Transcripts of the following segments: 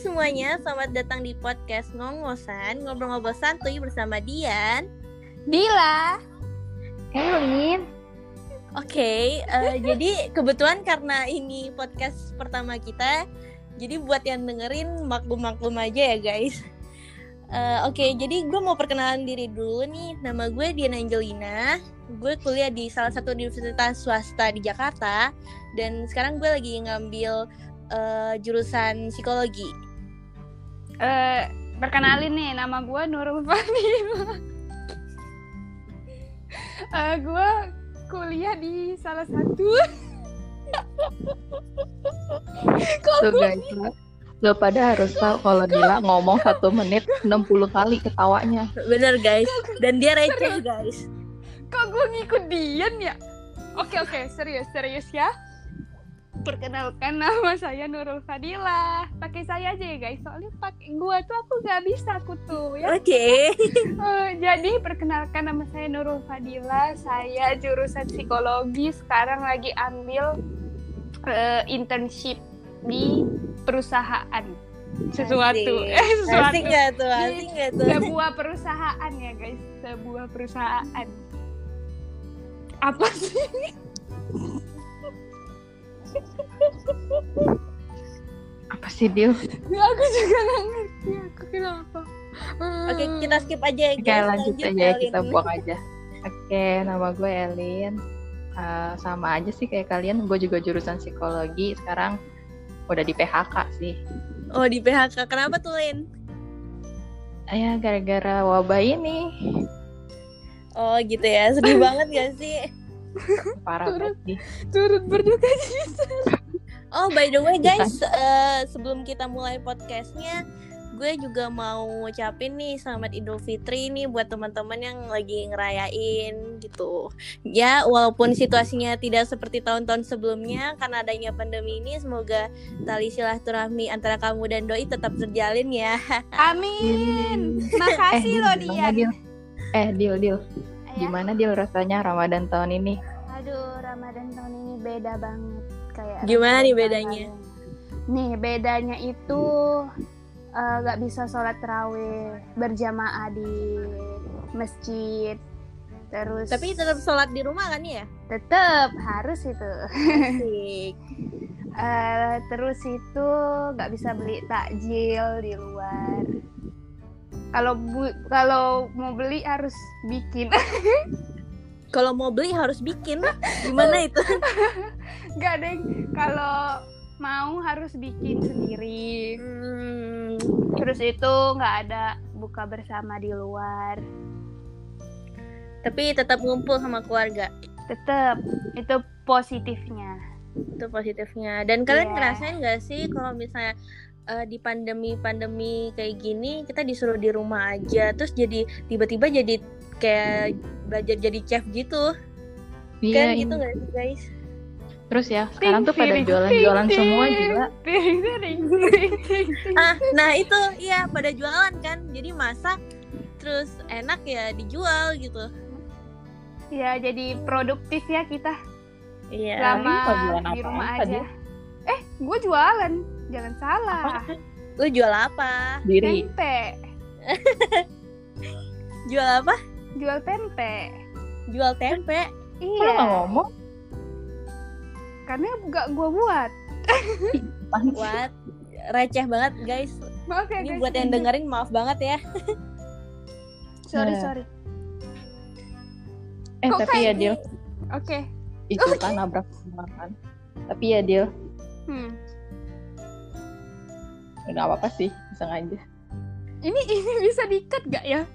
semuanya, selamat datang di podcast Ngongosan Ngobrol-ngobrol santuy bersama Dian Dila. Elin, Oke, eh, jadi kebetulan karena ini podcast pertama kita Jadi buat yang dengerin maklum-maklum aja ya guys Eh, Oke, jadi gue mau perkenalan diri dulu nih Nama gue Dian Angelina Gue kuliah di salah satu universitas swasta di Jakarta Dan sekarang gue lagi ngambil eh, jurusan psikologi Eh, perkenalin nih nama gue Nurul Fadila. Eh, gue kuliah di salah satu tuh guys, lo- lo pada harus tahu kalau Dila ngomong satu menit 60 kali ketawanya. Bener guys, dan dia receh guys kok gue ngikut Dian ya oke oke serius serius ya perkenalkan nama saya Nurul Fadila pakai saya aja ya guys soalnya pakai gue tuh aku nggak bisa aku tuh ya Oke. Eh, jadi perkenalkan nama saya Nurul Fadila saya jurusan psikologi sekarang lagi ambil eh, internship di perusahaan sesuatu Asik. eh sesuatu Asik gak tuh? Asik gak tuh? sebuah perusahaan ya guys sebuah perusahaan apa sih Apa sih Dil? aku juga nggak ngerti aku kenapa Eh, Oke, kita skip aja ya. Oke guys. lanjut aja ya, kalian. kita buang aja. Oke, nama gue Elin. Eh, sama aja sih kayak kalian, gue juga jurusan psikologi. Sekarang udah di PHK sih. Oh, di PHK. Kenapa tuh, Lin? Ya gara-gara wabah ini Oh, gitu ya. Sedih banget gak sih? parah banget sih. turut berduka cita Oh, by the way guys, eh, sebelum kita mulai podcastnya, gue juga mau ngucapin nih selamat Idul Fitri nih buat teman-teman yang lagi ngerayain gitu. Ya, walaupun situasinya tidak seperti tahun-tahun sebelumnya karena adanya pandemi ini, semoga tali silaturahmi antara kamu dan doi tetap terjalin ya. amin Eh, makasih Dil, loh gimana, Dian Dil? Eh, Dil, Dil. Ayah. Gimana Dil rasanya Ramadan tahun ini? aduh Ramadan tahun ini beda banget kayak Gimana nih Ramadan bedanya? kemarin. nih bedanya itu eh, nggak bisa sholat terawih berjamaah di masjid terus Tapi tetap sholat di rumah kan ya? tetap harus itu Asik. Eh, terus itu nggak bisa beli takjil di luar kalau bu- kalau mau beli harus bikin Kalau mau beli harus bikin. Gimana itu? nggak deng kalau mau harus bikin sendiri Hmm, terus itu nggak ada buka bersama di luar tapi tetap ngumpul sama keluarga. tetap itu positifnya Itu positifnya. Dan kalian Iya. ngerasain nggak sih kalau misalnya eh, di pandemi-pandemi kayak gini kita disuruh di rumah aja, terus jadi tiba-tiba jadi kayak belajar jadi chef gitu. kan ini. gitu nggak sih, guys? Iya, Terus ya, sekarang tuh pada Ting, ting, jualan-jualan ting, semua ting, gila. ting, ting, ting, ting, ting. Ah, nah itu iya pada jualan kan. Jadi masak terus enak ya dijual gitu. ya jadi produktif ya kita Iya. selama kok Ya, jualan di apa-apa rumah aja dia? eh gue jualan jangan salah Lu jual apa? Diri. tempe Jual apa? jual tempe Jual tempe. Kok lu iya gak ngomong? karena gak gue buat Apaan sih? What? Receh banget guys. maaf ya Ini guys buat yang dengerin maaf banget ya. sorry Ya. sorry Eh, Kok tapi kayak ya gitu? Dil, oke itu kan nabrak semua kan. Tapi ya Dil, hmm. ya nggak apa-apa sih, sengaja. ini ini bisa diikat gak ya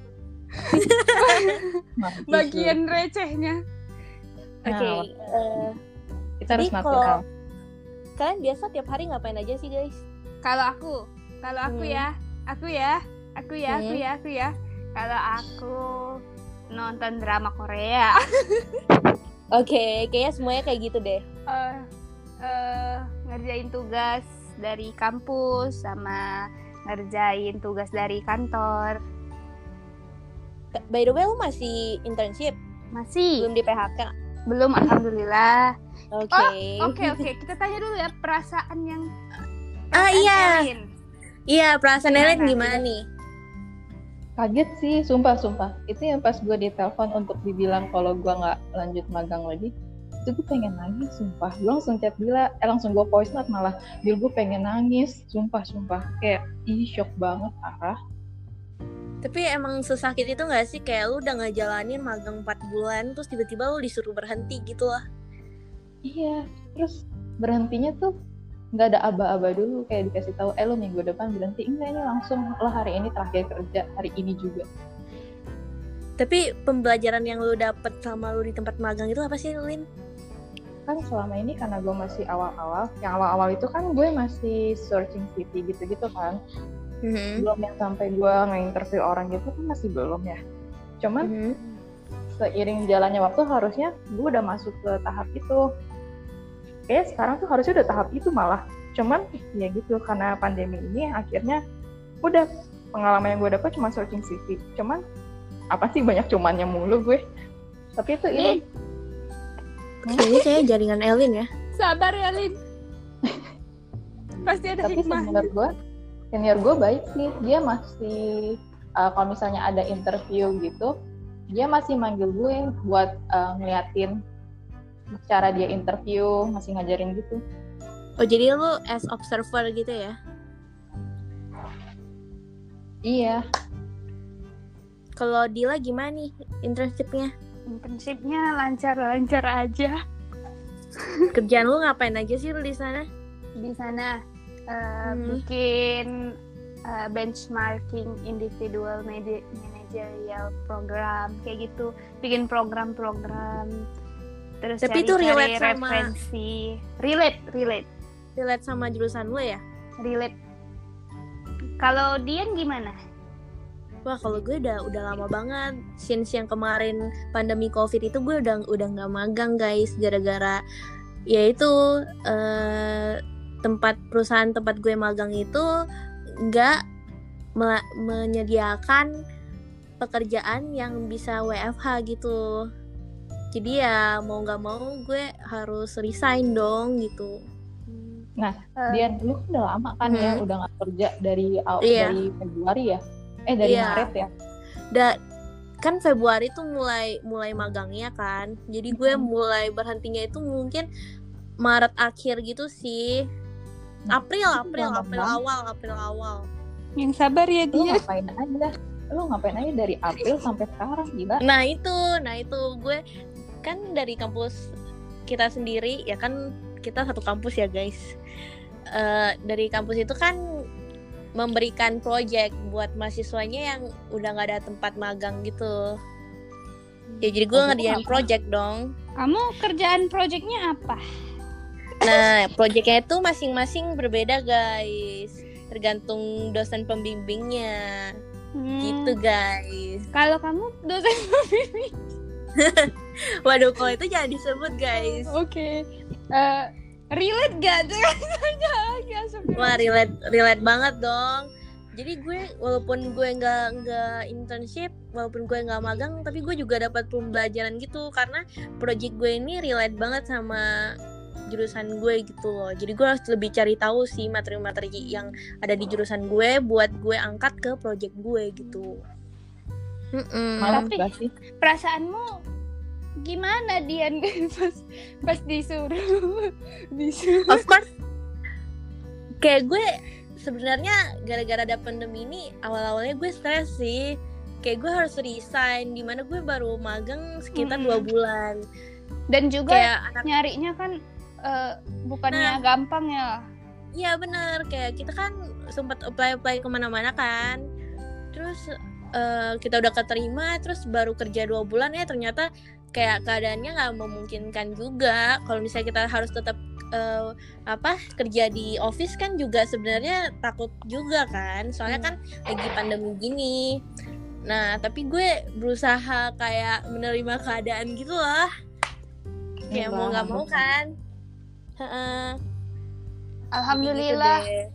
Mampus lu. bagian recehnya Oke. Nah, eh, kita harus Jadi natural. kalian biasa tiap hari ngapain aja sih guys? kalau aku kalau aku Hmm. ya aku ya aku ya aku Hmm. ya aku ya kalau aku nonton drama Korea Oke, kayaknya semuanya kayak gitu deh. eh eh, ngerjain tugas dari kampus sama ngerjain tugas dari kantor T- By the way, lu masih internship, masih belum di PHK. belum alhamdulillah Oh, Oke. oke oke kita tanya dulu ya perasaan yang Ah, perasaan iya. Elin. Iya, perasaan Gimana? Ellen gimana nih? Kaget sih, sumpah sumpah. Itu yang pas gue ditelepon untuk dibilang kalau gue nggak lanjut magang lagi, itu gue pengen nangis, sumpah. Gue langsung chat Bila, eh langsung gue voice note malah. Bil gue pengen nangis, sumpah sumpah. Kayak ih shock banget parah. Tapi emang sesakit itu gak sih kayak lu udah ngejalanin magang 4 bulan terus tiba-tiba lu disuruh berhenti gitu lah. Iya, terus berhentinya tuh nggak ada aba-aba dulu kayak dikasih tahu eh lo minggu depan berhenti enggak ini langsung lo hari ini terakhir kerja hari ini juga Tapi pembelajaran yang lu dapet sama lu di tempat magang itu apa sih, Lin? kan selama ini karena gue masih awal-awal yang awal-awal itu kan gue masih searching city gitu-gitu kan Mhm. belum yang sampai gue nge-interview orang gitu kan masih belum ya cuman Mhm. seiring jalannya waktu harusnya gue udah masuk ke tahap itu kayak sekarang tuh harusnya udah tahap itu malah cuman ya gitu karena pandemi ini akhirnya udah pengalaman yang gue dapat cuma searching CV cuman apa sih banyak cumannya mulu gue tapi itu itu Kayaknya kayak jaringan Elin ya. Sabar ya, Lin. Pasti ada tapi hikmahnya. senior gue senior gue baik sih dia masih uh, kalau misalnya ada interview gitu dia masih manggil gue buat uh, ngeliatin cara dia interview masih ngajarin gitu Oh, jadi lu as observer gitu ya. iya Kalau Dila gimana nih internshipnya? Internshipnya lancar-lancar aja. Kerjaan lu ngapain aja sih lu di sana? di sana eh, Hmm. bikin eh, benchmarking individual medi- managerial program kayak gitu bikin program-program terus Tapi itu cari-cari relate sama- referensi relate relate Relate sama jurusan lu ya? relate kalau Dian gimana Wah kalau gue udah udah lama banget since yang kemarin pandemi covid itu gue udah udah nggak magang guys gara-gara yaitu eh, tempat perusahaan tempat gue magang itu nggak mela- menyediakan pekerjaan yang bisa WFH gitu. Jadi ya mau nggak mau gue harus resign dong gitu. Nah, Eh, Dian, lu kan udah lama kan ya, Hmm. udah nggak kerja dari aw- Iya. dari Februari ya? Eh dari Iya. Maret ya? da kan Februari tuh mulai mulai magangnya kan jadi gue Mhm. mulai berhentinya itu mungkin Maret akhir gitu sih April April lama April banget. awal April awal yang sabar ya Lu ngapain aja? Lu ngapain aja dari April sampai sekarang gila? nah itu nah itu gue kan dari kampus kita sendiri ya kan kita satu kampus ya guys Eh, dari kampus itu kan memberikan proyek buat mahasiswanya yang udah nggak ada tempat magang gitu ya jadi gue Tapi ngerjain kenapa? proyek dong kamu kerjaan proyeknya apa Nah, proyeknya itu masing-masing berbeda, guys. Tergantung dosen pembimbingnya. Hmm, Gitu, guys. kalau kamu dosen Waduh, kalau itu jangan disebut, guys. Oke. Eh, relate gak dengan kerjaannya sebenarnya? Wah, relate relate banget dong. Jadi gue walaupun gue nggak nggak internship, walaupun gue nggak magang, tapi gue juga dapat pembelajaran gitu karena proyek gue ini relate banget sama jurusan gue gitu loh. Jadi gue harus lebih cari tahu sih materi-materi yang ada di jurusan gue buat gue angkat ke proyek gue gitu. Mm-mm. Malas Tapi- gak sih? Perasaanmu gimana Dian pas pas disuruh disuruh Of course, kayak gue sebenarnya gara-gara ada pandemi ini awal-awalnya gue stres sih. Kayak gue harus resign, dimana gue baru magang sekitar Mm-mm. dua bulan. dan juga Kayak anak nyarinya kan eh, Nah. bukannya gampang ya. Iya bener, kayak kita kan sempat apply-apply kemana-mana kan Terus eh, kita udah keterima, terus baru kerja dua bulan ya ternyata kayak keadaannya nggak memungkinkan juga Kalau misalnya kita harus tetap eh, apa kerja di office kan juga sebenarnya takut juga kan Soalnya kan lagi pandemi gini Nah tapi gue berusaha kayak menerima keadaan gitu lah Kayak mau nggak mau kan Heeh, gitu Alhamdulillah deh.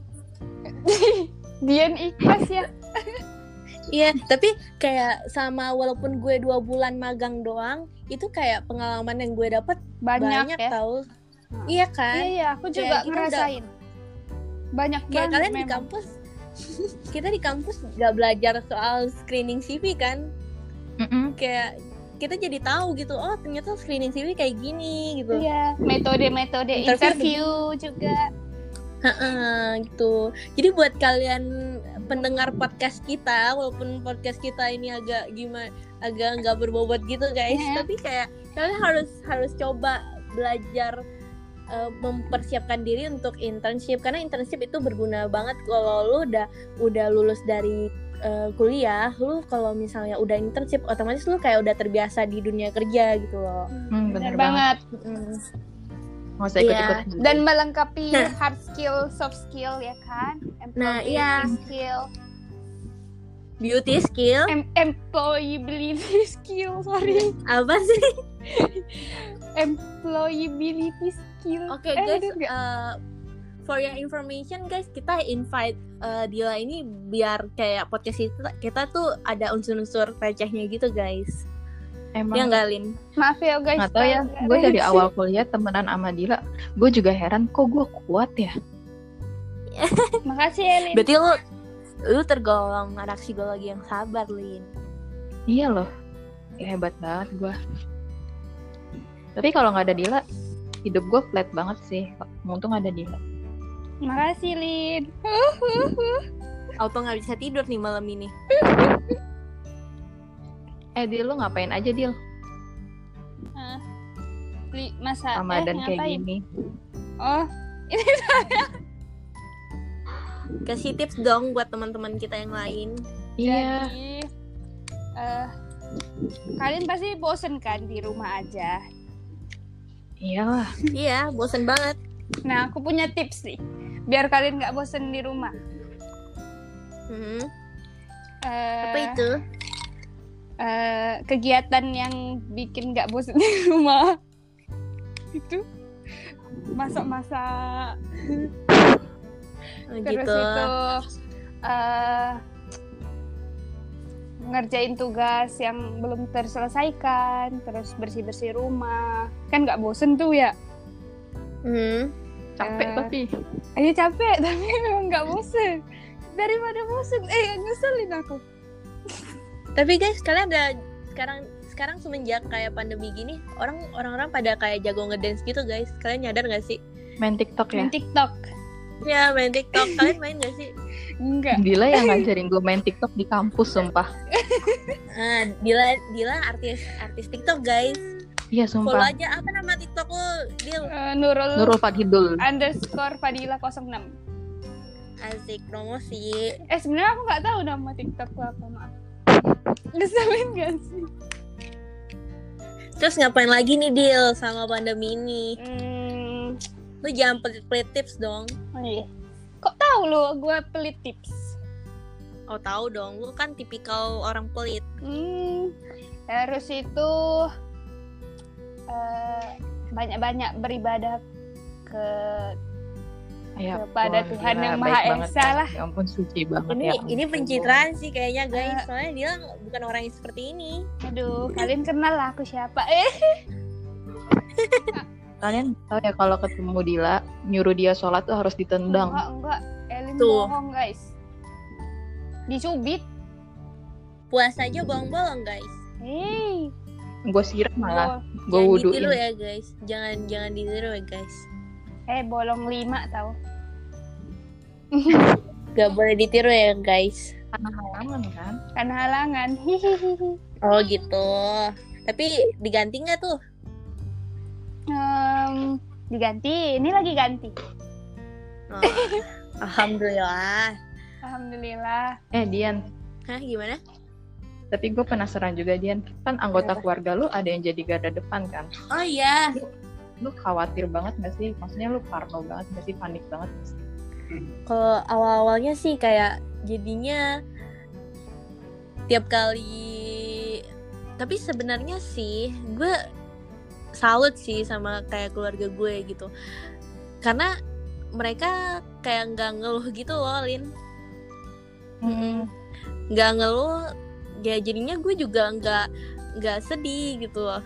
Dian ikhlas ya. Iya, tapi kayak sama walaupun gue dua bulan magang doang, itu kayak pengalaman yang gue dapet Banyak, banyak, ya. tahu. Iya kan? Iya iya, aku juga Kayak kita udah- ngerasain. Banyak Kayak banget kalian di memang. kampus kita di kampus nggak belajar soal screening CV kan Mm-mm. kayak kita jadi tahu gitu oh ternyata screening CV kayak gini gitu Iya, metode-metode Interview. interview juga. Heeh, gitu jadi buat kalian pendengar podcast kita walaupun podcast kita ini agak gimana agak nggak berbobot gitu guys Iya. tapi kayak kalian harus harus coba belajar eh, mempersiapkan diri untuk internship karena internship itu berguna banget kalau lu udah udah lulus dari eh, kuliah lu kalau misalnya udah internship otomatis lu kayak udah terbiasa di dunia kerja gitu loh Hmm, Bener bener banget. Mm. Nggak usah ikut-ikut. Dan melengkapi Nah. hard skill, soft skill ya kan? Employability Nah, iya. skill, beauty skill em- employability skill, sorry. apa sih Employability skill. Oke Eh, guys, bener nggak? uh, for your information guys, kita invite uh, Dila ini biar kayak podcast kita, kita tuh ada unsur-unsur recehnya gitu guys. Emang Ya nggak Lin? Maaf ya guys. nggak tahu ya. kalau Gue nggak dari ada- awal kuliah temenan sama Dila, gue juga heran kok gue kuat ya. Makasih ya, Elin. Berarti lu lu tergolong anak psikologi yang sabar Lin. Iya loh, Ya, hebat banget gue. Tapi kalau nggak ada Dila, hidup gue flat banget sih. Untung ada Dila. Makasih Lin. Auto nggak bisa tidur nih malam ini. Eh, Dil, lu ngapain aja, Dil? Li, masa Sama eh, dan kayak ngapain? gini. Oh, Kasih tips dong buat teman-teman kita yang lain. Iya, Jadi, eh, kalian pasti bosen kan di rumah aja. iyalah. Iya, bosen banget. Nah, aku punya tips nih. Biar kalian nggak bosen di rumah. Hmm, Eh, apa itu? eh, kegiatan yang bikin nggak bosen di rumah. Itu masak-masak. Oh, Terus gitu. itu eh, ngerjain tugas yang belum terselesaikan, terus bersih-bersih rumah. Kan nggak bosen tuh ya. Hmm. Capek Eh, tapi. Ayo capek, tapi memang nggak bosen. Daripada bosen, eh ngeselin aku. Tapi guys, kalian ada sekarang sekarang semenjak kayak pandemi gini, orang orang-orang pada kayak jago ngedance gitu guys. Kalian nyadar gak sih? Main TikTok ya? Main TikTok. Ya main TikTok. Kalian main gak sih? Enggak. Dila yang ya ngajarin gue main TikTok di kampus, sumpah. Ah, Dila Dila artis artis TikTok guys. Iya, Follow sumpah. aja apa nama TikTok lo? Dil. Eh, Nurul, Nurul Fadhidul. underscore Fadila 06. Asik promosi. Eh sebenarnya aku nggak tahu nama TikTok lo apa maaf. Ngeselin gak sih? Terus ngapain lagi nih Dil sama pandemi ini? Hmm, Lu jangan pelit-pelit tips dong. oh iya. Kok tahu lo gue pelit tips? Oh tahu dong, lu kan tipikal orang pelit. Hmm, terus itu eh, banyak-banyak beribadah ke Ya, Kepada ampun, Tuhan Dila, yang baik Maha banget. Esa lah. Ya ampun, suci banget. Ini ya ini ampun. pencitraan sih kayaknya guys. Soalnya Dila bukan orang yang seperti ini. Hmm. Aduh, kalian kenal lah aku siapa? Eh, Kalian tahu ya kalau ketemu Dila, nyuruh dia sholat tuh harus ditendang. enggak, enggak. Elin Tuh. bohong, guys. Dicubit. Puasa aja bolong-bolong guys. Hei. Gue siram bol- malah. Gue jangan wuduin. ditiru ya guys. Jangan jangan ditiru ya guys. eh, bolong lima tau. Gak boleh ditiru ya guys. Karena halaman kan. Kan halangan. Hihihi. Oh gitu. Tapi diganti nggak tuh? Em, diganti. Ini lagi ganti. Oh, Alhamdulillah. Alhamdulillah. Eh, Dian. Hah gimana? Tapi gue penasaran juga, Dian. Kan anggota keluarga lu ada yang jadi garda depan kan? Oh iya. Lu khawatir banget gak sih? Maksudnya lu parno banget gak sih? Panik banget gak sih? Kalau awal-awalnya sih kayak jadinya tiap kali. Tapi sebenarnya sih gue salut sih sama kayak keluarga gue gitu. Karena mereka kayak nggak ngeluh gitu loh, Lin. Mm-mm. nggak ngeluh ya jadinya gue juga nggak nggak sedih gitu loh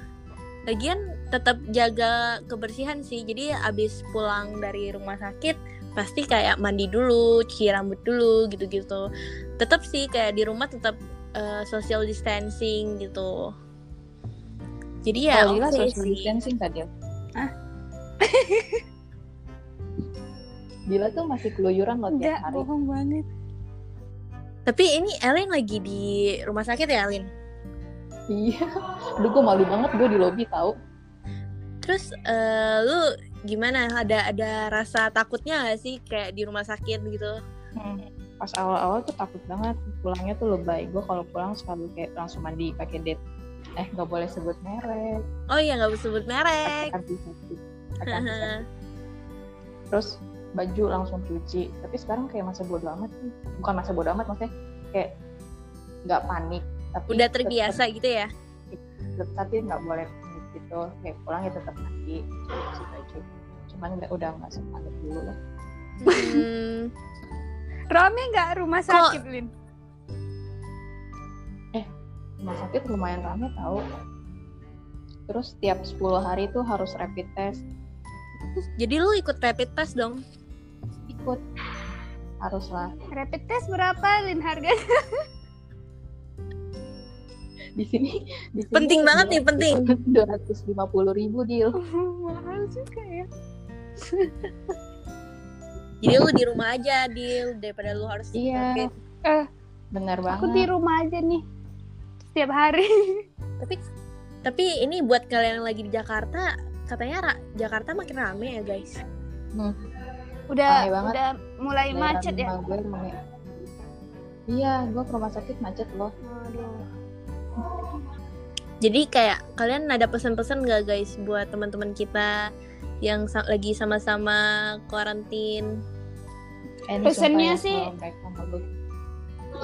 lagian tetap jaga kebersihan sih. Jadi abis pulang dari rumah sakit pasti kayak mandi dulu, cuci rambut dulu gitu-gitu. Tetap sih kayak di rumah tetap eh, social distancing gitu. Jadi ya Kalau Oh, iya, Lila oke social sih. distancing tadi. Hah? Lila tuh masih keluyuran loh tiap Enggak, hari. bohong banget. Tapi ini Elin lagi di rumah sakit ya Elin. Iya. Duh, gue malu banget gue di lobby tahu. Terus eh, lu gimana? Ada ada rasa takutnya gak sih kayak di rumah sakit gitu? Hmm, pas awal-awal tuh takut banget pulangnya tuh lebay gue kalau pulang selalu kayak langsung mandi pakai det eh nggak boleh sebut merek Oh iya nggak boleh sebut merek. pakai antiseptik pakai antiseptik. terus baju langsung cuci tapi sekarang kayak masa bodo amat sih. bukan masa bodo amat maksudnya kayak nggak panik tapi Udah tetep- terbiasa gitu ya? tetep- tapi nggak boleh panik gitu kayak pulang ya tetap mandi cuci baju cuman udah udah nggak sepanik dulu lah Hmm, Rame nggak rumah Kok- sakit, Lin? rumah sakit lumayan rame tahu terus tiap 10 hari tuh harus rapid test jadi lu ikut rapid test dong? ikut haruslah Rapid test berapa, Lin, harganya? di sini, di sini Penting banget nih, penting. dua ratus lima puluh ribu deal Mahal juga ya. Jadi lu di rumah aja, Dil, daripada lu harus ikut Iya. rapid. bener Aku di banget rumah aja nih. Setiap hari. Tapi tapi ini buat kalian yang lagi di Jakarta, katanya Ra- Jakarta makin rame ya guys. Udah Aneh banget. udah mulai Daerah macet ya. rumah gue rame. iya gue ke rumah sakit macet loh Aduh. Jadi kayak kalian ada pesan-pesan nggak guys buat teman-teman kita yang sa- lagi sama-sama karantin? Eh, ini Pesannya sumpah ya, sih- kalau mereka nggak boleh.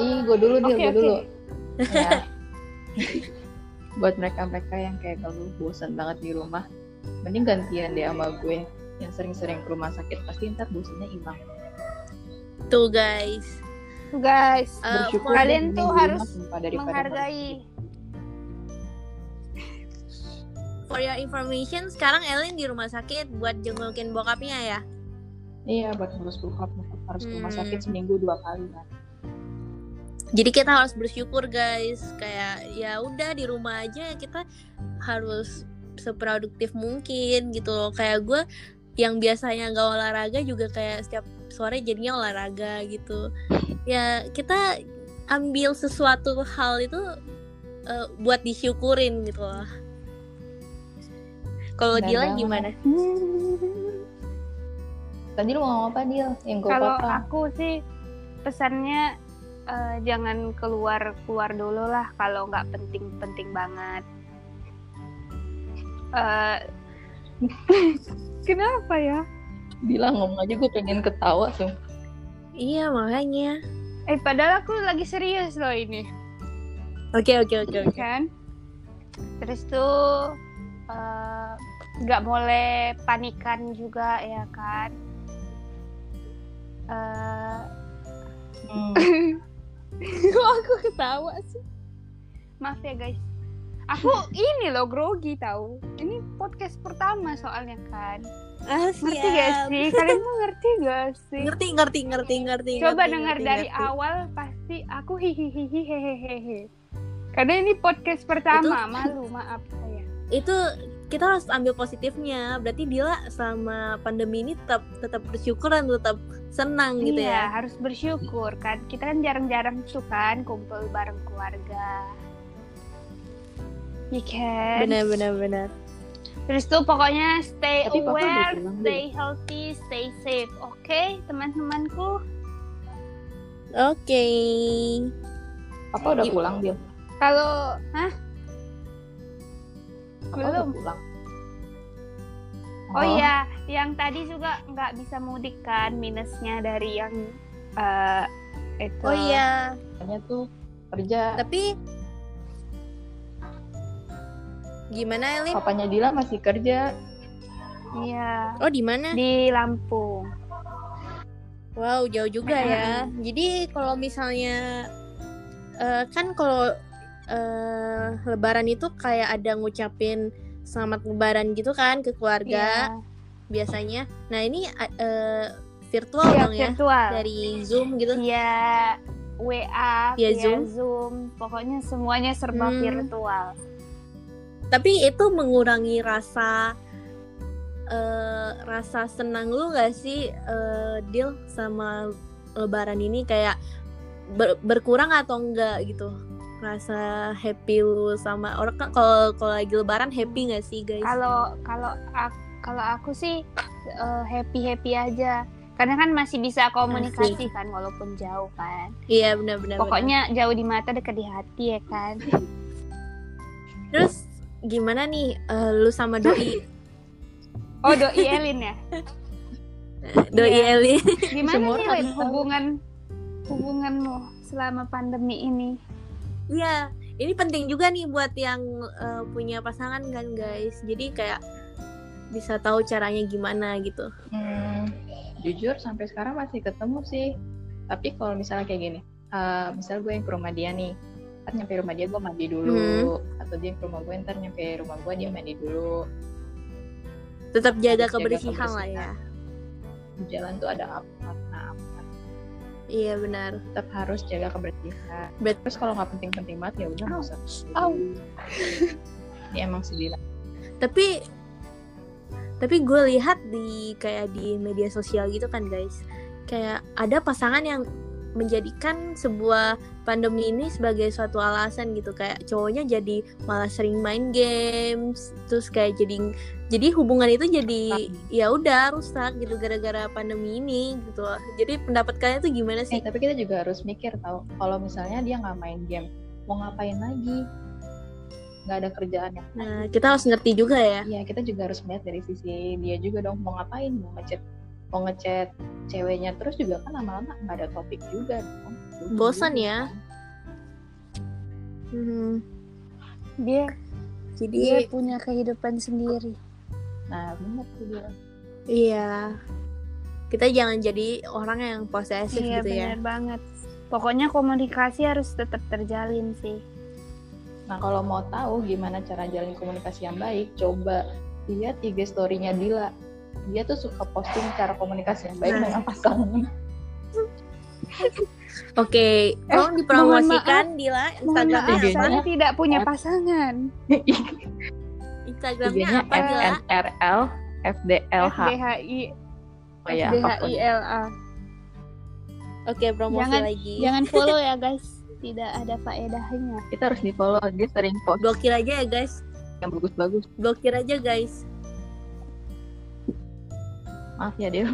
ih gue dulu deal Oke, gue oke. dulu Ya. Iya. buat mereka-mereka yang kayak ngeluh bosan banget di rumah mending gantian deh sama gue yang sering-sering ke rumah sakit pasti ntar bosannya hilang Eh, Tuh guys. Guys, Eh, mau- Bersyukur kalian tuh mending di rumah harus sumpah daripada menghargai. for your information, sekarang Elin di rumah sakit buat jengukin bokapnya ya. Iya, buat ngurus bokap harus ke rumah Hmm. sakit seminggu dua kali kan. Jadi kita harus bersyukur guys, kayak ya udah di rumah aja kita harus seproduktif mungkin gitu loh. Kayak gue yang biasanya nggak olahraga juga kayak setiap sore jadinya olahraga gitu. Ya kita ambil sesuatu hal itu eh, buat disyukurin gitu loh. Kalau Benar Dila banget. gimana? Tadi lu mau ngomong apa, Dil? Yang gue Kalau potong. aku sih pesannya eh, jangan keluar keluar dulu lah kalau nggak penting-penting banget. Eh, Kenapa ya? Dila ngomong aja gue pengen ketawa, sumpah. Iya makanya. Eh padahal aku lagi serius loh ini, Oke oke oke oke. kan? Terus tuh eh, nggak boleh panikan juga ya kan? Eh, Hmm. Kok aku ketawa sih? Maaf ya guys. Aku ini loh grogi tahu. Ini podcast pertama soalnya kan. Ah, Ngerti gak siap. sih? Kalian tuh ngerti gak sih? ngerti ngerti ngerti ngerti Coba ngerti, dengar ngerti, dari ngerti. awal pasti aku hihihihi hehehehe. Karena ini podcast pertama, malu maaf Iya. saya. itu kita harus ambil positifnya berarti Dila selama pandemi ini tetap tetap bersyukur dan tetap senang gitu ya iya, harus bersyukur kan. Kita kan jarang-jarang tuh kan kumpul bareng keluarga. Iya kan? benar benar benar Terus tuh pokoknya stay Tapi papa udah aware, pulang, stay healthy, stay safe. Oke, teman-temanku. oke Papa udah pulang, Dil? Kalau hah? Papa udah Belum. pulang. Oh iya, yang tadi juga nggak bisa mudik kan minusnya dari yang eh, itu. oh iya Makanya tuh kerja. tapi gimana Oh. Elin Papanya Dila masih kerja. Iya, oh di mana di Lampung. Wow, jauh juga ya. Nah. Jadi kalau misalnya eh, kan kalau eh, lebaran itu kayak ada ngucapin selamat lebaran gitu kan ke keluarga Iya. biasanya. Nah, ini a- eh, virtual Iya, dong ya. virtual. Dari Zoom gitu. Iya, WA, Via via Iya, Zoom. Zoom. pokoknya semuanya serba Hmm. virtual. Tapi itu mengurangi rasa eh, rasa senang lu gak sih eh, deal sama lebaran ini kayak ber- berkurang atau enggak gitu? Rasa happy lu sama orang kan kalau kalau lagi lebaran happy gak sih, guys? Kalau kalau ak- kalau aku sih happy happy aja, karena kan masih bisa komunikasi kan walaupun jauh kan. Iya, benar-benar. benar. Pokoknya jauh di mata dekat di hati ya kan. Terus gimana nih eh, lu sama Iya. doi? Oh doi Elin ya. doi Iya. Eli. Gimana Semua nih orang Lin, tahu. hubungan hubunganmu selama pandemi ini? Iya, ini penting juga nih buat yang eh, punya pasangan kan guys. Jadi kayak bisa tahu caranya gimana gitu. Hmm, jujur sampai sekarang masih ketemu sih tapi kalau misalnya kayak gini eh misal gue yang ke rumah dia nih ntar nyampe rumah dia gue mandi dulu atau dia yang ke rumah gue ntar nyampe rumah gue dia mandi dulu Tetap jaga Harus jaga kebersihan lah ya. kebersihan. di jalan tuh ada apa nah Iya benar. tetap harus jaga kebersihan Bet- terus kalau nggak penting-penting banget ya udah nggak usah Au. ya, emang sedih lah Tapi tapi gue lihat di kayak di media sosial gitu kan guys. Kayak ada pasangan yang menjadikan sebuah pandemi ini sebagai suatu alasan gitu kayak cowoknya jadi malah sering main games terus kayak jadi jadi hubungan itu jadi ya udah rusak gitu gara-gara pandemi ini gitu loh. jadi pendapat kalian tuh gimana Eh, sih tapi kita juga harus mikir tau kalau misalnya dia nggak main game mau ngapain lagi nggak ada kerjaan yang nah kita harus ngerti juga ya Iya, kita juga harus melihat dari sisi dia juga dong mau ngapain, mau ngechat, mau ngechat ceweknya terus juga kan lama-lama nggak ada topik juga dong. gitu. Bosan ya. Mhm. Dia dia jadi punya kehidupan sendiri. Nah, bener tuh dia. iya kita jangan jadi orang yang posesif Iya gitu ya benar banget. Pokoknya komunikasi harus tetap terjalin sih. Nah, kalau mau tahu gimana cara jalin komunikasi yang baik, coba lihat IG story-nya Dila. Dia tuh suka posting cara komunikasi yang baik Nah. dengan pasangan. oke tolong dipromosikan Dila Eh, Mohon Instagramnya maaf, apa IG-nya. saya tidak punya pasangan. Instagramnya IG-nya apa Dila FNRL FDLH. DHI, Oh ya, apapun. DHILA. oke promosi Jangan- lagi Jangan follow ya guys, tidak ada faedahnya. Kita harus di-follow. Dia sering post blokir aja ya guys yang bagus-bagus. blokir aja guys Maaf ya, Dil.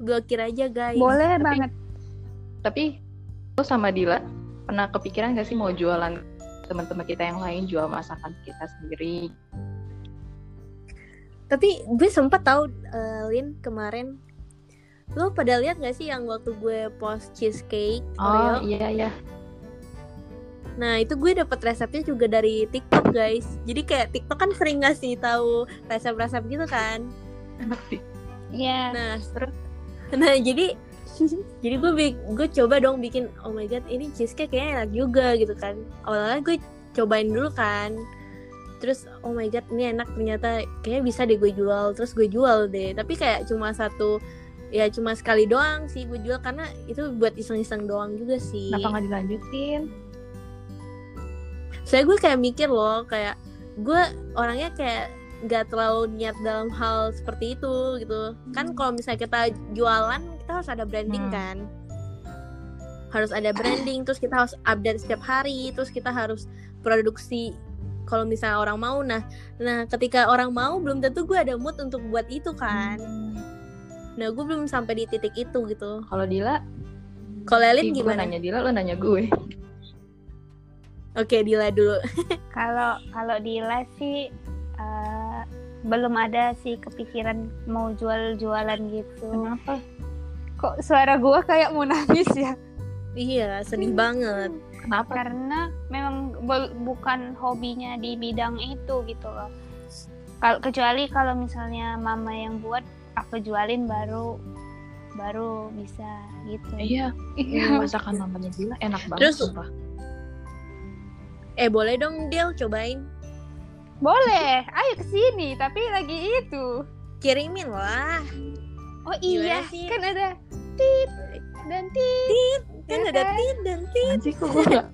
blokir aja guys Boleh banget. Tapi lo sama Dila pernah kepikiran gak sih mau jualan teman-teman kita yang lain jual masakan kita sendiri? tapi gue sempat tahu eh, Lin kemarin lo pada lihat gak sih yang waktu gue post cheesecake Oreo iya iya. nah itu gue dapet resepnya juga dari TikTok guys jadi kayak TikTok kan sering ngasih tahu resep-resep gitu kan Enak sih. Ya, nah seru. nah jadi jadi gue bi- gue coba dong bikin oh my god ini cheesecake kayaknya enak juga gitu kan awalnya gue cobain dulu kan terus oh my god ini enak ternyata kayaknya bisa deh gue jual terus gue jual deh tapi kayak cuma satu ya cuma sekali doang sih gue jual karena itu buat iseng-iseng doang juga sih Kenapa nggak dilanjutin? saya gue kayak mikir loh kayak gue orangnya kayak nggak terlalu niat dalam hal seperti itu gitu kan kalau misalnya kita jualan kita harus ada branding Hmm. kan harus ada branding terus kita harus update setiap hari terus kita harus produksi kalau misalnya orang mau nah nah ketika orang mau belum tentu gue ada mood untuk buat itu kan Hmm. nah gue belum sampai di titik itu gitu Kalau Dila, kalau Lelin ih, gua gimana nanya Dila, lo nanya gue. oke Dila dulu kalau kalau Dila sih eh, belum ada sih kepikiran mau jual-jualan gitu. Kenapa? Kok suara gua kayak mau nangis ya? iya sedih Hmm. banget Kenapa? karena memang bel- bukan hobinya di bidang itu gitu loh kalau kecuali kalau misalnya mama yang buat aku jualin baru baru bisa gitu Iya, Iya. masakan mamanya Dila enak banget. Terus- sumpah. Eh boleh dong Del cobain. Boleh, ayo ke sini, tapi lagi itu. Kirimin lah. Oh Gimana iya, sih? kan ada tit dan tit. Kan Ya ada kan? tit dan tit. Anjir kok gue gak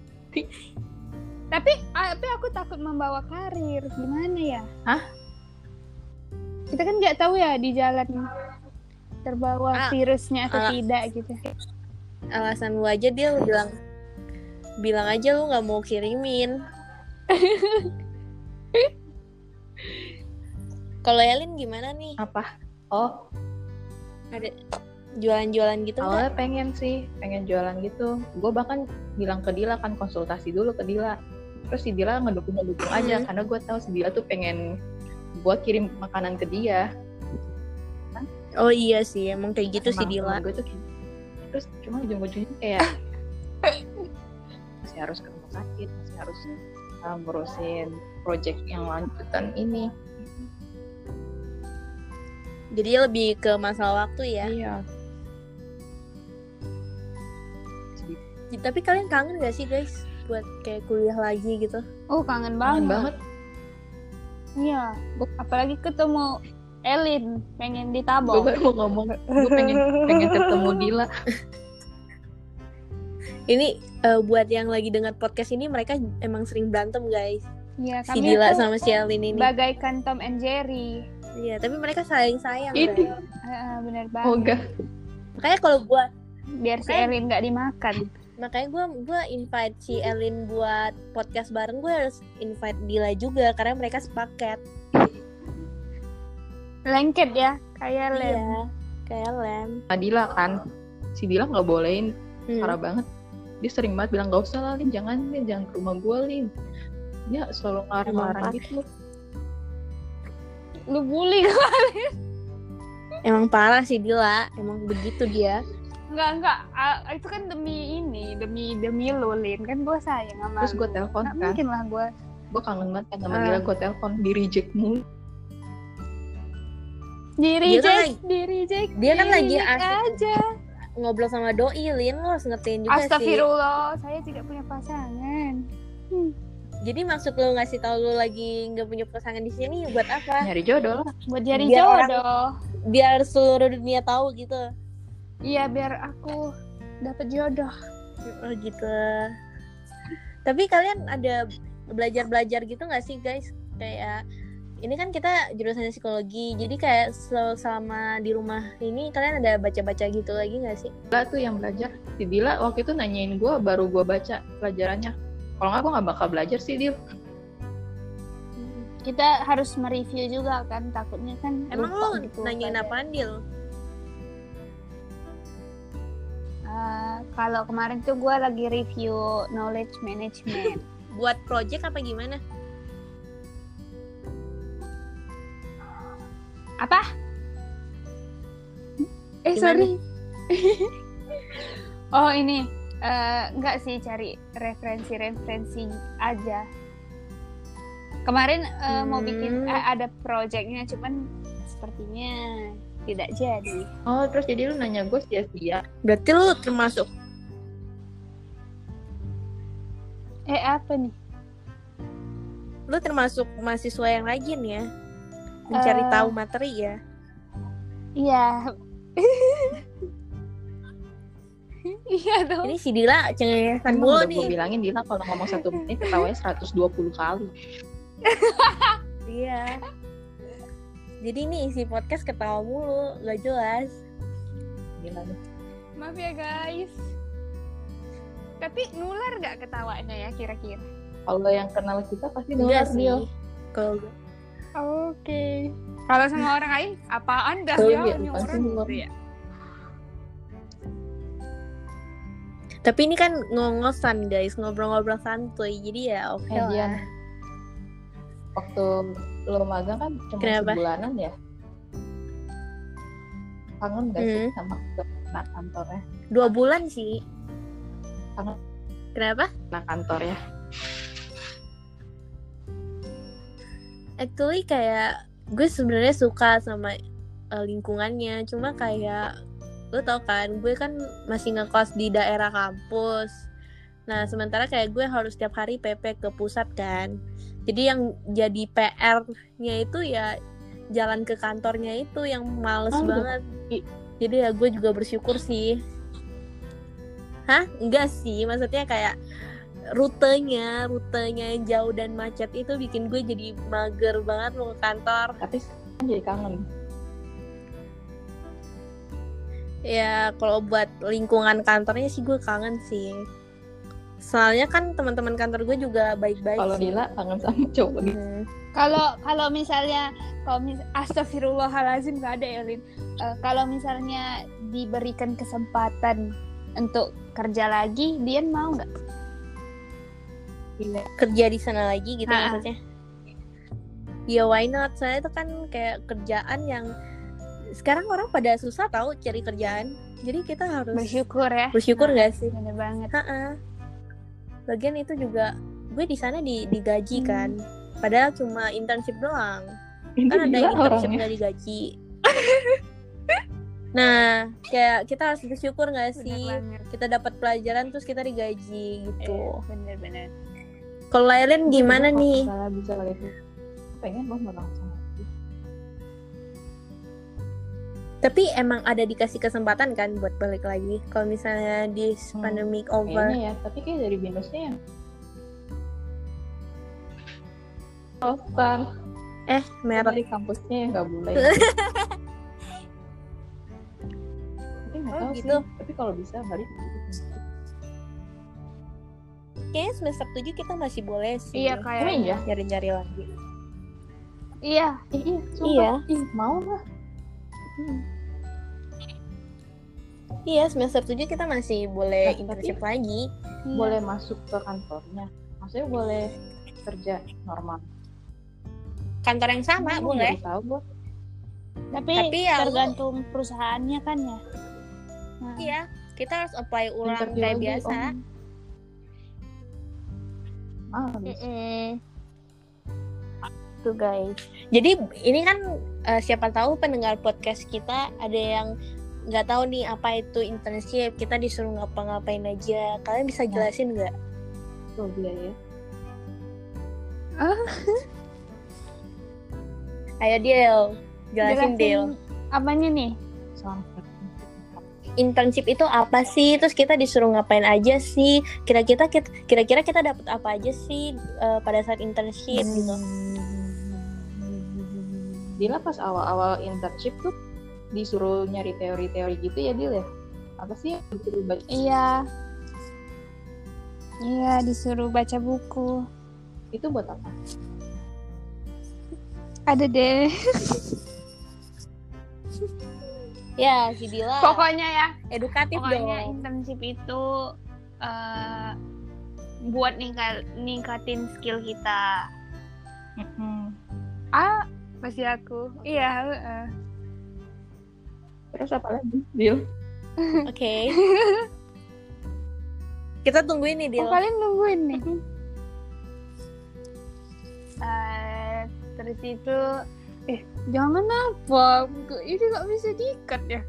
Tapi ah, tapi aku takut membawa karir. Gimana ya? Hah? Kita kan nggak tahu ya di jalan terbawa Ah, virusnya atau ah. tidak gitu. Alasan lu aja Del bilang bilang aja lu nggak mau kirimin. Kalau Elin gimana nih? apa Oh Jualan-jualan gitu nggak? awalnya pengen sih Pengen jualan gitu Gue bahkan bilang ke Dila kan Konsultasi dulu ke Dila Terus si Dila ngedukung-ngedukung aja Hmm. Karena gue tahu si Dila tuh pengen Gue kirim makanan ke dia Oh iya sih, emang kayak gitu sih Emang Dila. temen Gue tuh gitu. Terus cuma ujung-ujungnya kayak masih harus ke rumah sakit, masih harus uh, ngurusin project yang lanjutan ini. Jadi ya lebih ke masalah waktu ya. Iya. Iya, Tapi kalian kangen gak sih guys buat kayak kuliah lagi gitu? Oh kangen banget. Kangen banget. Iya. Apalagi ketemu Elin pengen Gue ditabok. baru mau ngomong, gue pengen pengen ketemu Dila. Ini eh, buat yang lagi dengar podcast ini mereka emang sering berantem guys. Iya Si kami Dila itu sama si Alin ini. bagaikan Tom and Jerry. Iya, tapi mereka saling sayang. Ini guys. Ah, bener oh banget. enggak. Makanya kalau gua Biar si Kan- Elin nggak dimakan. makanya gua gua invite si Elin buat podcast bareng gua harus invite Dila juga karena mereka sepaket. Lengket ya, kayak lem. Iya. Kayak lem. Nah, Dila kan, si Dila nggak bolehin, Hmm. parah banget. Dia sering banget bilang gak usah lah Lin, jangan Lin, jangan ke rumah gue Lin. Dia selalu ngarang-ngarang Emang gitu. Lu bully Emang parah sih Dila, emang begitu dia. Enggak, enggak. Ah, itu kan demi ini, demi demi lu, Lin. Kan gue sayang sama Terus gue lu. telepon Nggak kan, mungkin lah gue. gue kangen banget kan sama Ah. Dila, gue telepon di reject mulu. Di reject, kan lagi- di reject. dia kan di lagi reject asik. aja. Ngobrol sama doi, Lin lo harus ngertiin juga sih. Astagfirullah, saya tidak punya pasangan. Jadi maksud lu ngasih tahu lu lagi nggak punya pasangan di sini buat apa? Nyari jodoh lah. Buat jadi Biar orang- jodoh. Biar seluruh dunia tahu gitu. Iya, biar aku dapat jodoh. Oh gitu. Tapi kalian ada belajar-belajar gitu nggak sih guys? Kayak ini kan kita jurusannya psikologi, jadi kayak sel- selama di rumah ini kalian ada baca-baca gitu lagi nggak sih? Dila tuh yang belajar. Si Dila waktu itu nanyain gue, baru gue baca pelajarannya. Kalau nggak gue nggak bakal belajar sih, Dil. Kita harus mereview juga kan, takutnya kan Emang lo lupa gitu nanyain pelajaran. apaan Dil? Ah, kalau kemarin tuh gue lagi review knowledge management. Buat project apa gimana? eh, Gimana? sorry. oh, ini. Eh, Nggak sih, cari referensi-referensi aja. Kemarin eh, mau bikin Hmm. eh, ada projectnya, cuman sepertinya tidak jadi. Oh, terus jadi lu nanya gue sia-sia. Berarti lo termasuk Eh, apa nih? lu termasuk mahasiswa yang rajin ya mencari Eh. tahu materi ya Iya. Iya dong. ini si Dila cengengesan Kan mulu udah gue nih bilangin Dila kalau ngomong satu menit ketawanya 120 kali. iya jadi ini isi podcast ketawa mulu gak jelas Gila nih. Maaf ya, guys. Tapi nular nggak ketawanya ya kira-kira? Kalau yang kenal kita pasti enggak dengar Iya sih Dil. kalau gua- Oke. Kalau sama orang lain, apaan dah Tuh, ya iya, ini apaan sih orang lu? gitu ya? tapi ini kan ngongosan guys ngobrol-ngobrol santuy jadi ya oke Eh, Dian. lah Waktu lo magang kan cuma Kenapa? sebulanan ya. Kangen gak sih Hmm. sama anak kantornya? dua bulan sih Sangat. kenapa Anak kantornya. actually kayak gue sebenarnya suka sama eh, lingkungannya cuma kayak lo tau kan gue kan masih ngekos di daerah kampus Nah, sementara kayak gue harus tiap hari PP ke pusat kan. Jadi yang jadi PR-nya itu ya jalan ke kantornya itu yang males Oh, iya. banget. Jadi ya gue juga bersyukur sih. Hah? Enggak sih, maksudnya kayak rutenya, rutenya yang jauh dan macet itu bikin gue jadi mager banget mau ke kantor. tapi sekarang jadi kangen Iya Ya, kalau buat lingkungan kantornya sih gue kangen sih. Soalnya kan teman-teman kantor gue juga baik-baik. kalau sih. Dila kangen sama cowok gitu Hmm. Kalau kalau misalnya kalau mis astagfirullahalazim gak ada Elin. kalau misalnya diberikan kesempatan untuk kerja lagi, Dian mau nggak? kerja di sana lagi gitu Ha-ha. maksudnya. Ya why not? Soalnya itu kan kayak kerjaan yang sekarang orang pada susah tahu cari kerjaan. Jadi kita harus Bersyukur ya. bersyukur nggak sih? Bener banget. Ha-ha. Lagian itu juga gue di sana di digaji Hmm. kan. Padahal cuma internship doang. Ini Kan ada gila internship orangnya. nggak digaji. nah, kayak kita harus bersyukur nggak Bener sih? banget. Kita dapat pelajaran terus kita digaji gitu. Bener-bener. Kalau Lailin gimana Iya, nih? salah bisa lagi pengen banget menang sama Tapi emang ada dikasih kesempatan kan buat balik lagi kalau misalnya di Hmm, pandemic over. kayaknya ya tapi kayak dari ya. binusnya yang Rosan, Eh, merek. dari kampusnya yang nggak boleh. tapi nggak Oh, tahu gitu. sih. Tapi kalau bisa balik. Kayaknya semester 7 kita masih boleh sih. Iya Emang kayak. iya? Nyari-nyari lagi. Iya. Ih, iya, sumpah. Iya. Ih, mau lah. Iya, semester 7 kita masih Nah, boleh tapi- internship lagi. Iya. Boleh masuk ke kantornya. Maksudnya boleh kerja normal. Kantor yang sama Emang boleh. baru Tahu gua. Tapi, Tapi ya lu- tergantung perusahaannya kan ya. Nah, Iya, kita harus apply ulang Interview kayak lagi, oh. biasa. om. Males. Gitu. Mm-mm. Tuh guys. Jadi ini kan eh, siapa tahu pendengar podcast kita ada yang nggak tahu nih apa itu internship. Kita disuruh ngapa-ngapain aja. Kalian Iya. bisa jelasin nggak? Tuh dia ya. Ayo Del, jelasin Del. jelasin apanya nih? Sampai. Internship itu apa sih? Terus kita disuruh ngapain aja sih? Kira-kira kita kira-kira kita dapat apa aja sih eh, pada saat internship gitu? Hmm. Dila pas awal-awal internship tuh disuruh nyari teori-teori gitu ya Dil ya? Apa sih yang disuruh baca? Iya. Iya, disuruh baca buku. Itu buat apa? Ada deh. Ya, si Dila Pokoknya ya, edukatif dong. pokoknya internship itu eh, buat ningka- ningkatin skill kita. Ah, masih aku. Iya, heeh. Terus apa lagi? Dil? Oke. kita tungguin nih Oh, Dil. kalian nungguin nih. Eh, terus itu eh jangan apa ini nggak bisa diikat ya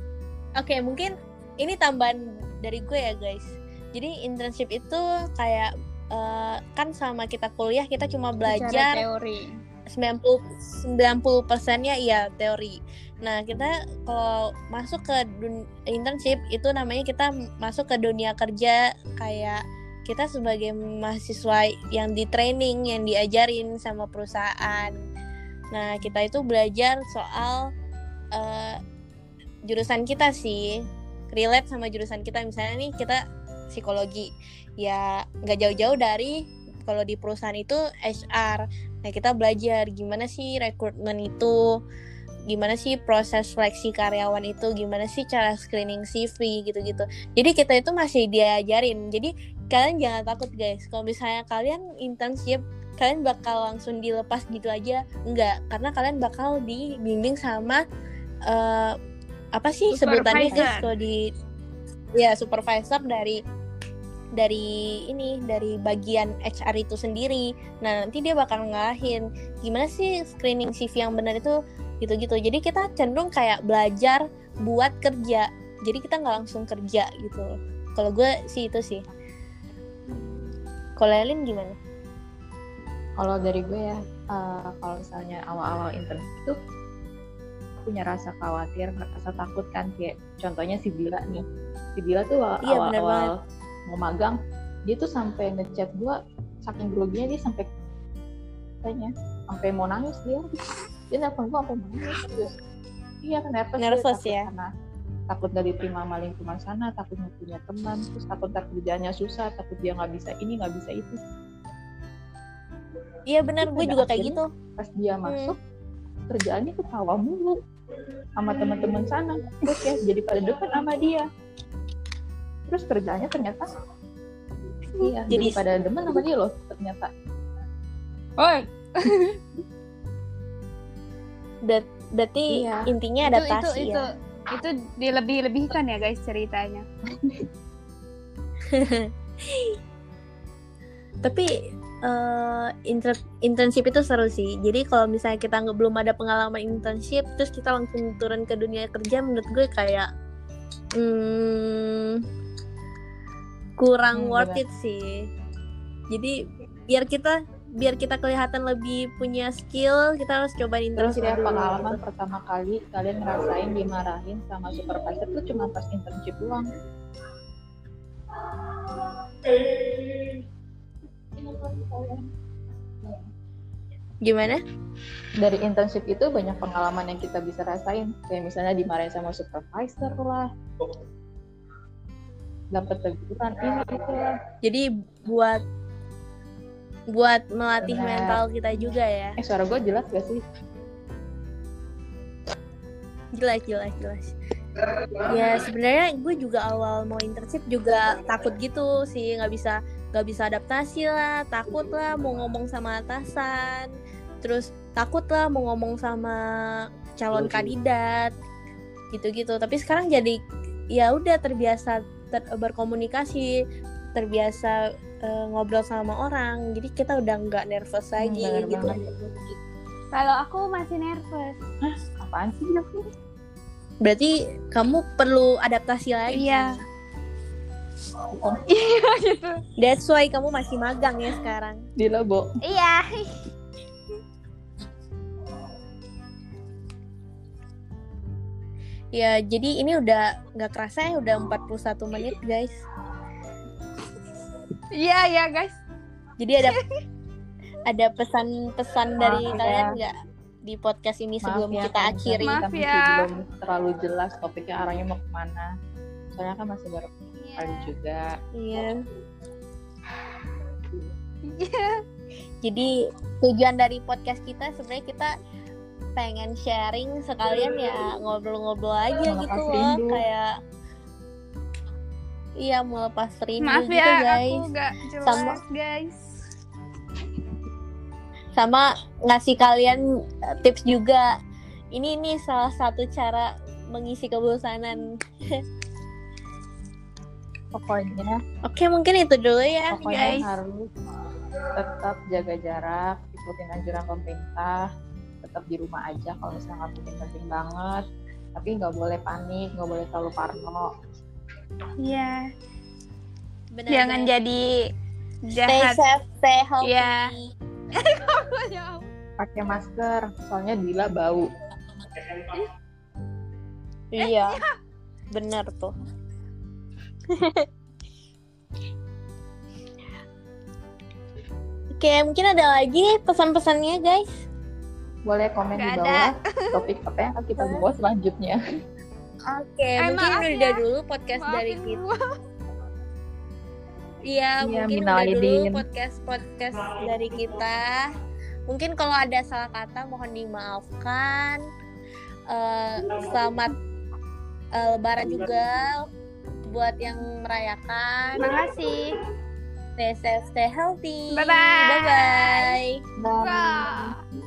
Oke, mungkin ini tambahan dari gue ya, guys. Jadi internship itu kayak eh, kan sama kita kuliah kita cuma Secara belajar teori 90 90%-nya ya teori. Nah, kita kalau masuk ke dun- internship itu namanya kita masuk ke dunia kerja kayak kita sebagai mahasiswa yang di training, yang diajarin sama perusahaan. Nah, kita itu belajar soal eh, jurusan kita sih, relate sama jurusan kita. Misalnya nih kita psikologi, ya nggak jauh-jauh dari kalau di perusahaan itu HR. Nah, kita belajar gimana sih rekrutmen itu, gimana sih proses seleksi karyawan itu, gimana sih cara screening CV gitu-gitu. Jadi kita itu masih diajarin. Jadi kalian jangan takut guys. Kalau misalnya kalian internship, kalian bakal langsung dilepas gitu aja. Enggak, karena kalian bakal dibimbing sama eh, apa sih sebutannya guys Supervisor. kalau di ya supervisor dari dari ini dari bagian HR itu sendiri. Nah, nanti dia bakal ngalahin gimana sih screening CV yang benar itu gitu-gitu. Jadi kita cenderung kayak belajar buat kerja. Jadi kita nggak langsung kerja gitu. Kalau gue sih itu sih. Kalau Elin gimana? kalau dari gue ya eh, kalau misalnya awal-awal intern itu punya rasa khawatir rasa takut kan kayak contohnya si Dila nih si Dila tuh wa- Iya, bener awal-awal mau magang dia tuh sampai ngechat gue saking groginya dia sampai kayaknya sampai mau nangis dia dia nelfon gue sampai mau nangis dia. iya kan nervous, dia, Nervous takut ya. karena takut dari terima sama lingkungan sana takut nggak punya teman terus takut ntar kerjaannya susah takut dia nggak bisa ini nggak bisa itu Iya benar, gue Pada juga kayak akhirnya- gitu. pas dia masuk kerjaannya ketawa mulu sama teman-teman sana terus ya jadi pada depan sama dia terus kerjaannya ternyata iya jadi, Jadi- pada depan sama dia loh ternyata Oi, Dat- Berarti Iya. intinya itu itu adaptasi itu ya. itu dilebih-lebihkan ya guys ceritanya. Tapi eh, inter- internship itu seru sih. Jadi kalau misalnya kita nggak belum ada pengalaman internship, terus kita langsung turun ke dunia kerja, menurut gue kayak hmm, kurang Hmm, worth it sih. Jadi biar kita biar kita kelihatan lebih punya skill, kita harus cobain terus internship ya dulu, pengalaman gitu. pertama kali kalian ngerasain dimarahin sama supervisor tuh cuma pas internship doang Gimana? dari internship itu banyak pengalaman yang kita bisa rasain kayak misalnya dimarahin sama supervisor lah dapat teguran iya, ini itu lah Jadi buat buat melatih Benar. mental kita juga ya. eh suara gue jelas gak sih Jelas, jelas, jelas. Ya sebenarnya gue juga awal mau internship juga takut gitu sih nggak bisa nggak bisa adaptasi lah, takut lah mau ngomong sama atasan, terus takut lah mau ngomong sama calon kandidat gitu-gitu. Tapi sekarang jadi ya udah terbiasa ter- berkomunikasi, terbiasa eh, ngobrol sama orang, jadi kita udah nggak nervous lagi bener gitu. Kalau aku masih nervous. apaan sih Berarti kamu perlu adaptasi lagi. Iya. Iya gitu. That's why kamu masih magang ya sekarang. di lebo Iya. Ya, jadi ini udah nggak kerasa ya udah 41 menit, guys. Iya ya guys. Jadi ada ada pesan-pesan dari Maaf ya. kalian nggak di podcast ini sebelum ya, kita kalau akhiri? misalnya Maaf kita ya. masih belum terlalu jelas topiknya arahnya mau kemana soalnya kan masih baru Iya. kali juga Iya. Iya. Jadi tujuan dari podcast kita sebenarnya kita pengen sharing sekalian ya ngobrol-ngobrol aja Melepas gitu loh, rindu. kayak iya melepas rindu Maaf gitu ya guys. aku nggak jelas Sama. guys. sama ngasih kalian eh, tips juga. Ini nih salah satu cara mengisi kebosanan. pokoknya Oke, mungkin itu dulu ya, pokoknya guys. harus tetap jaga jarak ikutin anjuran pemerintah tetap di rumah aja kalau misalnya nggak penting-penting banget tapi nggak boleh panik nggak boleh terlalu parno Iya. Benar, Jangan guys. jadi stay jahat. safe, stay healthy. Iya. Ya pakai masker soalnya gila bau Iya. Benar tuh. Oke, mungkin ada lagi pesan-pesannya, guys. boleh komen Nggak di bawah topik apa yang akan kita bahas selanjutnya Oke, Eh, mungkin maaf udah dulu podcast dari Maafin kita. gua. Iya, Iya, mungkin minal udah dulu aidin. podcast-podcast dari kita. Mungkin kalau ada salah kata mohon dimaafkan. Eh, selamat eh, lebaran juga buat yang merayakan. Makasih. Stay safe, stay healthy. Bye-bye. Bye-bye. Bye. Wah.